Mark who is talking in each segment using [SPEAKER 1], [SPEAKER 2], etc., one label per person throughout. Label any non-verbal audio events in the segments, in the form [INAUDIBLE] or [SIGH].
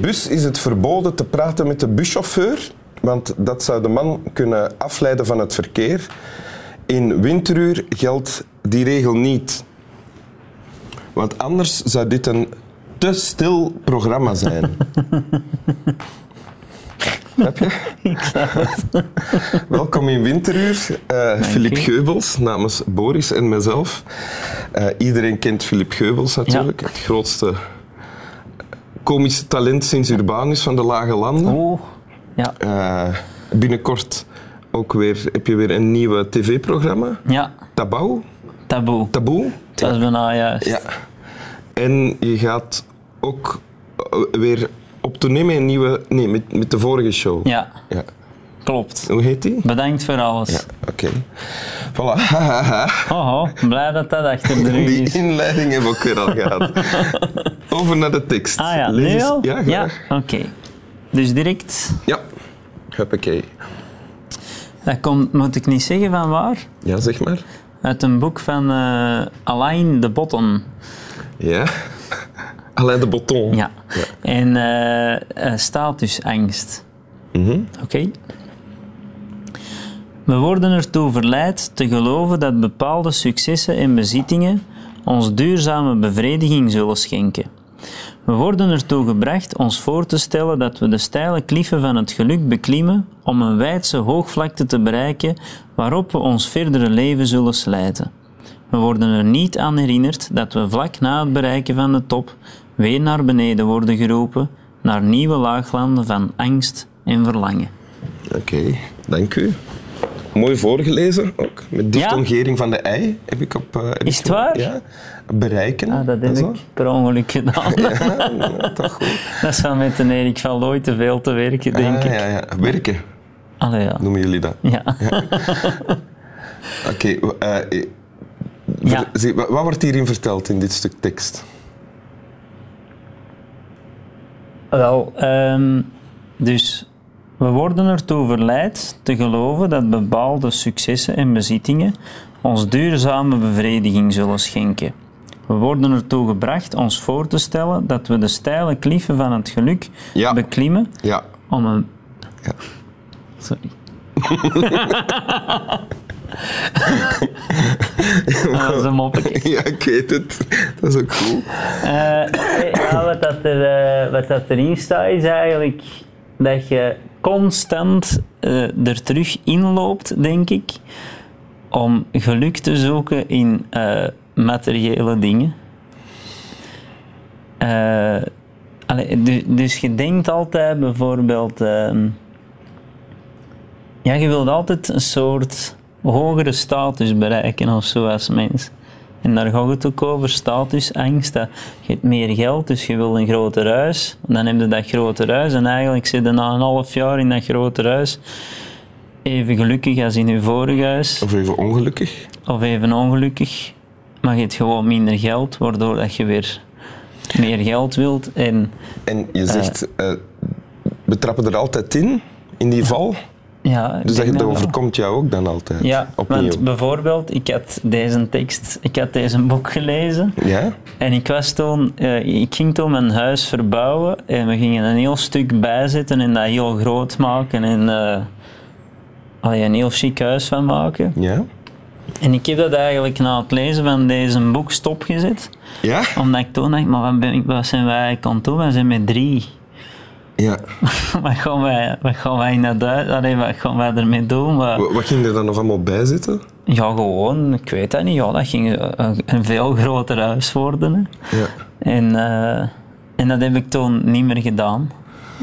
[SPEAKER 1] bus is het verboden te praten met de buschauffeur, want dat zou de man kunnen afleiden van het verkeer. In winteruur geldt die regel niet. Want anders zou dit een te stil programma
[SPEAKER 2] [LAUGHS]
[SPEAKER 1] zijn. Heb je? [LAUGHS] Welkom in Winteruur, eh Filip
[SPEAKER 2] je.
[SPEAKER 1] Geubels namens Boris en mezelf. Eh, iedereen kent Filip Geubels natuurlijk,
[SPEAKER 2] Ja.
[SPEAKER 1] het grootste komische talent sinds Urbanus van de Lage Landen.
[SPEAKER 2] Oh, ja.
[SPEAKER 1] Eh, binnenkort ook weer, heb je weer een nieuwe tv-programma,
[SPEAKER 2] Ja,
[SPEAKER 1] Tabou.
[SPEAKER 2] taboe.
[SPEAKER 1] Taboe?
[SPEAKER 2] Dat is bijna juist.
[SPEAKER 1] Ja. En je gaat ook eh, weer op tournee met een nieuwe... Nee, met, met de vorige show.
[SPEAKER 2] Ja,
[SPEAKER 1] Ja.
[SPEAKER 2] klopt.
[SPEAKER 1] Hoe heet die?
[SPEAKER 2] Bedankt voor
[SPEAKER 1] Ja,
[SPEAKER 2] alles.
[SPEAKER 1] oké.
[SPEAKER 2] [LAUGHS]
[SPEAKER 1] Voilà. Ha, ha, ha.
[SPEAKER 2] Hoho, oh, blij dat dat achter de
[SPEAKER 1] [LAUGHS]
[SPEAKER 2] rug
[SPEAKER 1] Die
[SPEAKER 2] is.
[SPEAKER 1] inleiding hebben we ook weer al
[SPEAKER 2] [LAUGHS]
[SPEAKER 1] gehad. Over naar de tekst.
[SPEAKER 2] Ah ja,
[SPEAKER 1] Lees
[SPEAKER 2] nu
[SPEAKER 1] eens-
[SPEAKER 2] al?
[SPEAKER 1] Ja, graag.
[SPEAKER 2] oké. Dus direct,
[SPEAKER 1] Ja. Huppakee.
[SPEAKER 2] dat komt, moet ik niet zeggen van waar,
[SPEAKER 1] Ja, zeg maar.
[SPEAKER 2] uit een boek van eh, Alain de Botton.
[SPEAKER 1] Ja. [LAUGHS] Alain de Botton.
[SPEAKER 2] Ja. En eh, eh, statusangst.
[SPEAKER 1] Mhm.
[SPEAKER 2] Oké. We worden ertoe verleid te geloven dat bepaalde successen en bezittingen ons duurzame bevrediging zullen schenken. We worden ertoe gebracht ons voor te stellen dat we de steile kliffen van het geluk beklimmen om een wijdse hoogvlakte te bereiken waarop we ons verdere leven zullen slijten. We worden er niet aan herinnerd dat we vlak na het bereiken van de top weer naar beneden worden geroepen, naar nieuwe laaglanden van angst en verlangen.
[SPEAKER 1] Oké, dank u. Mooi voorgelezen ook. Met diftongering van de ei heb ik op. eh, heb
[SPEAKER 2] Is
[SPEAKER 1] ik
[SPEAKER 2] het waar?
[SPEAKER 1] Ja. Bereiken.
[SPEAKER 2] Ah, dat heb
[SPEAKER 1] en zo.
[SPEAKER 2] ik per ongeluk gedaan.
[SPEAKER 1] Ja, nou, toch goed.
[SPEAKER 2] Dat is van met een Erik van Looy te veel te werken, [LAUGHS] denk
[SPEAKER 1] Ah,
[SPEAKER 2] ik.
[SPEAKER 1] Ja, ja. Werken
[SPEAKER 2] Allee, ja.
[SPEAKER 1] noemen jullie dat.
[SPEAKER 2] Ja.
[SPEAKER 1] Oké, eh, eh, ver-
[SPEAKER 2] Ja.
[SPEAKER 1] zie, wa- wat wordt hierin verteld in dit stuk tekst?
[SPEAKER 2] Wel, ehm, dus we worden ertoe verleid te geloven dat bepaalde successen en bezittingen ons duurzame bevrediging zullen schenken. We worden ertoe gebracht ons voor te stellen dat we de steile kliffen van het geluk
[SPEAKER 1] Ja.
[SPEAKER 2] beklimmen
[SPEAKER 1] Ja.
[SPEAKER 2] om een.
[SPEAKER 1] Ja.
[SPEAKER 2] Sorry. [LAUGHS] dat was een moppetje.
[SPEAKER 1] [LAUGHS] ja, ik weet het. [LAUGHS] Dat is ook cool.
[SPEAKER 2] Eh, ja, wat, dat er, eh, wat dat erin staat is eigenlijk dat je constant eh, er terug inloopt, denk ik, om geluk te zoeken in eh, materiële dingen. Eh, allee, du- dus je denkt altijd bijvoorbeeld, ehm, ja, je wilt altijd een soort hogere status bereiken of zo als mens. En daar gaat het ook over, statusangst. Dat je hebt meer geld, dus je wil een groter huis. Dan heb je dat groter huis en eigenlijk zit je na een half jaar in dat groter huis even gelukkig als in je vorige huis.
[SPEAKER 1] Of even ongelukkig.
[SPEAKER 2] Of even ongelukkig. Maar je hebt gewoon minder geld, waardoor dat je weer meer geld wilt. En
[SPEAKER 1] En je zegt, eh, we trappen er altijd in, in die val.
[SPEAKER 2] ja, ik
[SPEAKER 1] Dus dat,
[SPEAKER 2] denk
[SPEAKER 1] dat
[SPEAKER 2] wel.
[SPEAKER 1] overkomt jou ook dan altijd.
[SPEAKER 2] Ja,
[SPEAKER 1] Opnieuw.
[SPEAKER 2] want bijvoorbeeld, ik had deze tekst, ik had deze boek gelezen.
[SPEAKER 1] Ja?
[SPEAKER 2] En ik was toen, eh, ik ging toen mijn huis verbouwen en we gingen een heel stuk bijzetten en dat heel groot maken en eh allee, een heel chic huis van maken.
[SPEAKER 1] Ja?
[SPEAKER 2] En ik heb dat eigenlijk na het lezen van deze boek stopgezet,
[SPEAKER 1] Ja?
[SPEAKER 2] omdat ik toen dacht, maar wat, ben ik, wat zijn wij eigenlijk aan het doen? Wij zijn met drie.
[SPEAKER 1] Ja.
[SPEAKER 2] wat, gaan [LAUGHS] wij, wat gaan wij in dat huis, allee, wat gaan wij ermee doen? Wat-
[SPEAKER 1] Wa- Wat ging er dan nog allemaal bij zitten?
[SPEAKER 2] ja, gewoon, ik weet dat niet, ja, dat ging een, een veel groter huis worden. hè.
[SPEAKER 1] Ja.
[SPEAKER 2] En, eh, en dat heb ik toen niet meer gedaan.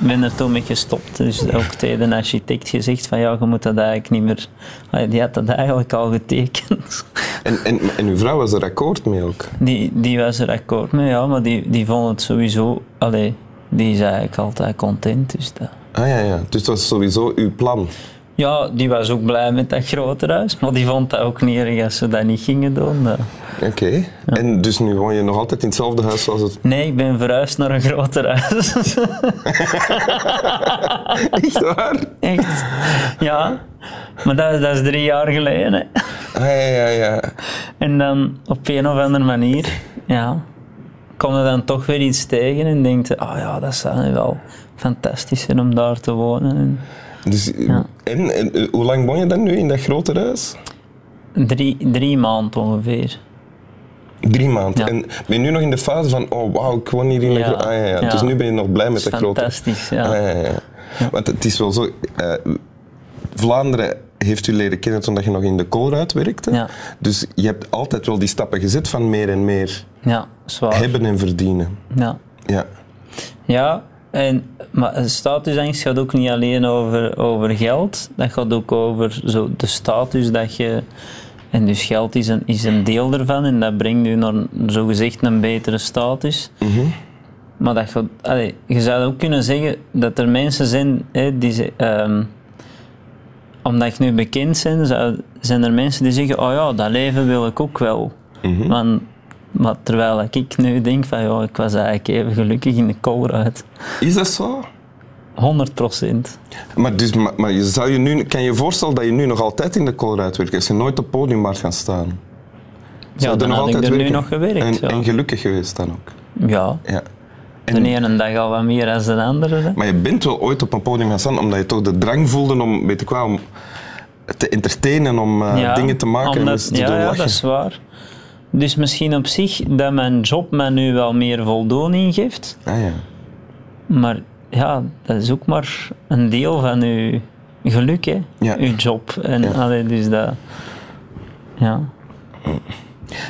[SPEAKER 2] Ik ben er toen mee gestopt. Dus ook tegen de architect gezegd van ja, je moet dat eigenlijk niet meer... Allee, Die had dat eigenlijk al getekend. [LAUGHS]
[SPEAKER 1] En, en, en uw vrouw was er akkoord mee ook.
[SPEAKER 2] Die, die was er akkoord mee, ja, maar die, die vond het sowieso... Allee, die is eigenlijk altijd content, dus dat...
[SPEAKER 1] Ah ja, ja. Dus dat was sowieso uw plan.
[SPEAKER 2] Ja, die was ook blij met dat grote huis, maar die vond dat ook niet erg als ze dat niet gingen doen. eh.
[SPEAKER 1] Oké. En dus nu woon je nog altijd in hetzelfde huis als het. [LAUGHS]
[SPEAKER 2] Nee, ik ben verhuisd naar een groter huis. [LAUGHS]
[SPEAKER 1] Echt waar?
[SPEAKER 2] Echt? Ja. Maar dat, is- dat is drie jaar geleden. hè.
[SPEAKER 1] Ah ja, ja, ja.
[SPEAKER 2] En dan op een of andere manier, ja, kom je dan toch weer iets tegen en denkt, je, ah ja, dat zou nu wel fantastisch zijn om daar te wonen. En
[SPEAKER 1] Dus,
[SPEAKER 2] Ja.
[SPEAKER 1] en, en, eh, hoe lang woon je dan nu in dat grote huis?
[SPEAKER 2] drie, drie maanden ongeveer.
[SPEAKER 1] Drie maanden.
[SPEAKER 2] Ja.
[SPEAKER 1] En ben je nu nog in de fase van, oh wauw, ik woon hier in een
[SPEAKER 2] Ja.
[SPEAKER 1] grote... Ah, ja, ja.
[SPEAKER 2] Ja.
[SPEAKER 1] Dus nu ben je nog blij
[SPEAKER 2] Dat
[SPEAKER 1] met
[SPEAKER 2] is
[SPEAKER 1] dat grote
[SPEAKER 2] fantastisch, ja.
[SPEAKER 1] Ah, ja, ja, ja. Want het is wel zo. eh, Vlaanderen heeft u leren kennen toen dat je nog in de koolruit werkte.
[SPEAKER 2] Ja.
[SPEAKER 1] Dus je hebt altijd wel die stappen gezet van meer en meer
[SPEAKER 2] Ja, zwaar.
[SPEAKER 1] hebben en verdienen.
[SPEAKER 2] Ja.
[SPEAKER 1] Ja.
[SPEAKER 2] Ja, en, maar statusangst gaat ook niet alleen over, over geld. Dat gaat ook over zo de status dat je. En dus geld is een, is een deel daarvan en dat brengt u naar zogezegd een betere status. Maar dat gaat, allee, je zou ook kunnen zeggen dat er mensen zijn hè, die. ze- ehm, omdat je nu bekend bent, zou- zijn er mensen die zeggen: Oh ja, dat leven wil ik ook wel. Want- maar terwijl ik nu denk: van ja, ik was eigenlijk even gelukkig in de koolruit.
[SPEAKER 1] Is dat zo?
[SPEAKER 2] 100 procent.
[SPEAKER 1] Maar, dus, maar, maar je zou je nu, kan je je voorstellen dat je nu nog altijd in de koolruit werkt? Als je nooit op het podium maar gaan staan.
[SPEAKER 2] Ja,
[SPEAKER 1] Zou je
[SPEAKER 2] dan
[SPEAKER 1] nog
[SPEAKER 2] had ik
[SPEAKER 1] altijd
[SPEAKER 2] er nu
[SPEAKER 1] werken?
[SPEAKER 2] nog gewerkt.
[SPEAKER 1] En,
[SPEAKER 2] ja.
[SPEAKER 1] en gelukkig geweest dan ook.
[SPEAKER 2] ja,
[SPEAKER 1] Ja.
[SPEAKER 2] de ene dag al wat meer dan de andere. hè.
[SPEAKER 1] Maar je bent wel ooit op een podium gaan staan omdat je toch de drang voelde om, weet ik wel, om te entertainen, om eh,
[SPEAKER 2] Ja,
[SPEAKER 1] dingen te maken en
[SPEAKER 2] omdat-
[SPEAKER 1] mensen te
[SPEAKER 2] ja,
[SPEAKER 1] doen
[SPEAKER 2] ja,
[SPEAKER 1] lachen.
[SPEAKER 2] dat is waar. Dus misschien op zich dat mijn job mij nu wel meer voldoening geeft.
[SPEAKER 1] Ah, ja.
[SPEAKER 2] Maar ja, dat is ook maar een deel van uw geluk, hè?
[SPEAKER 1] Ja.
[SPEAKER 2] Uw job. En
[SPEAKER 1] Ja.
[SPEAKER 2] allee, dus dat. Ja.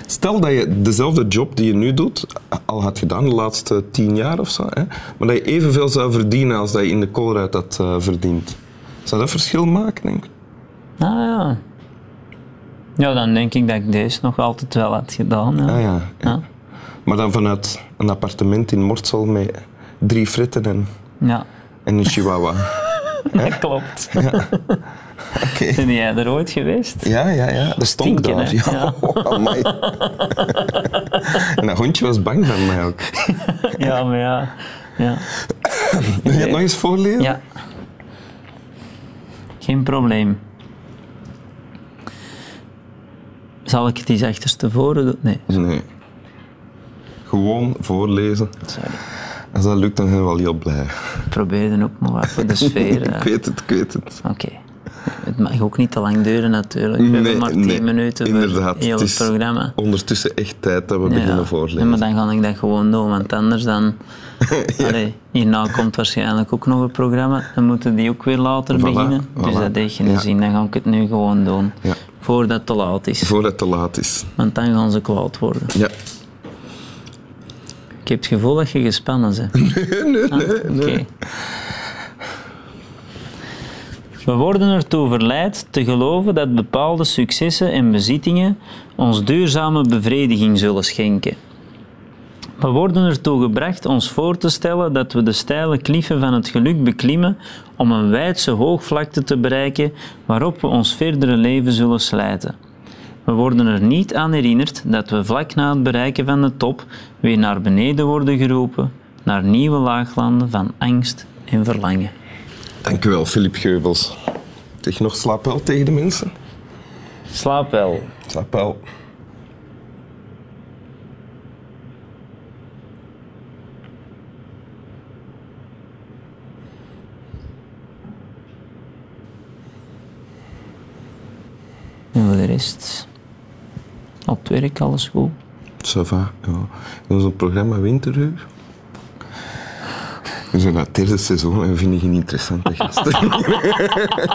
[SPEAKER 1] Stel dat je dezelfde job die je nu doet, al had gedaan de laatste tien jaar of zo, hè, maar dat je evenveel zou verdienen als dat je in de koolruit had eh, verdiend. Zou dat verschil maken, denk ik?
[SPEAKER 2] Nou ja. Ja, dan denk ik dat ik deze nog altijd wel had gedaan. Ja.
[SPEAKER 1] Ah, ja, ja.
[SPEAKER 2] Ja.
[SPEAKER 1] Maar dan vanuit een appartement in Mortsel met drie fritten en,
[SPEAKER 2] Ja,
[SPEAKER 1] en een chihuahua.
[SPEAKER 2] [LAUGHS] dat klopt.
[SPEAKER 1] Oké.
[SPEAKER 2] Ben jij er ooit
[SPEAKER 1] [LAUGHS]
[SPEAKER 2] geweest?
[SPEAKER 1] Ja, ja, ja. Dat stond
[SPEAKER 2] Stinken,
[SPEAKER 1] daar.
[SPEAKER 2] hè?
[SPEAKER 1] Ja, [LAUGHS] Oh,
[SPEAKER 2] Ja.
[SPEAKER 1] amai. en dat hondje was bang van mij ook.
[SPEAKER 2] Ja, maar ja. Ja.
[SPEAKER 1] Wil je het nog eens voorlezen?
[SPEAKER 2] ja. Geen probleem. Zal ik het eens achterstevoren doen? Nee,
[SPEAKER 1] Nee. Gewoon voorlezen.
[SPEAKER 2] sorry.
[SPEAKER 1] Als dat lukt, dan zijn we wel heel blij.
[SPEAKER 2] Ik probeerde ook maar wat voor
[SPEAKER 1] [LAUGHS]
[SPEAKER 2] de sfeer. eh.
[SPEAKER 1] Ik weet het, ik weet het.
[SPEAKER 2] Oké. Het mag ook niet te lang duren natuurlijk. We
[SPEAKER 1] Nee,
[SPEAKER 2] hebben maar 10
[SPEAKER 1] nee,
[SPEAKER 2] minuten voor
[SPEAKER 1] inderdaad.
[SPEAKER 2] heel
[SPEAKER 1] Het
[SPEAKER 2] het,
[SPEAKER 1] is
[SPEAKER 2] programma.
[SPEAKER 1] Ondertussen echt tijd dat we
[SPEAKER 2] Ja.
[SPEAKER 1] beginnen
[SPEAKER 2] Nee,
[SPEAKER 1] voorlezen.
[SPEAKER 2] maar dan ga ik dat gewoon doen, want anders
[SPEAKER 1] [LAUGHS]
[SPEAKER 2] dan... Allee, hierna komt waarschijnlijk ook nog een programma. Dan moeten die ook weer later
[SPEAKER 1] Voilà,
[SPEAKER 2] beginnen. Dus
[SPEAKER 1] voilà.
[SPEAKER 2] dat deed geen
[SPEAKER 1] Ja.
[SPEAKER 2] zin. Dan ga ik het nu gewoon doen.
[SPEAKER 1] Ja.
[SPEAKER 2] Voordat het te laat is.
[SPEAKER 1] Voor het te laat is.
[SPEAKER 2] Want dan gaan ze kwaad worden.
[SPEAKER 1] Ja.
[SPEAKER 2] Ik heb het gevoel dat je gespannen bent.
[SPEAKER 1] [LAUGHS]
[SPEAKER 2] Ah,
[SPEAKER 1] Nee, nee, nee.
[SPEAKER 2] Oké. We worden ertoe verleid te geloven dat bepaalde successen en bezittingen ons duurzame bevrediging zullen schenken. We worden ertoe gebracht ons voor te stellen dat we de steile kliffen van het geluk beklimmen om een wijdse hoogvlakte te bereiken waarop we ons verdere leven zullen slijten. We worden er niet aan herinnerd dat we vlak na het bereiken van de top weer naar beneden worden geroepen, naar nieuwe laaglanden van angst en verlangen.
[SPEAKER 1] Dankjewel, Filip Geubels. Zeg nog, slaap wel tegen de mensen.
[SPEAKER 2] Slaap wel.
[SPEAKER 1] Slaap wel.
[SPEAKER 2] En voor de rest, op het werk alles goed.
[SPEAKER 1] Ça va, ja. In ons programma Winteruur. We zijn na het derde seizoen en we vinden geen interessante gasten.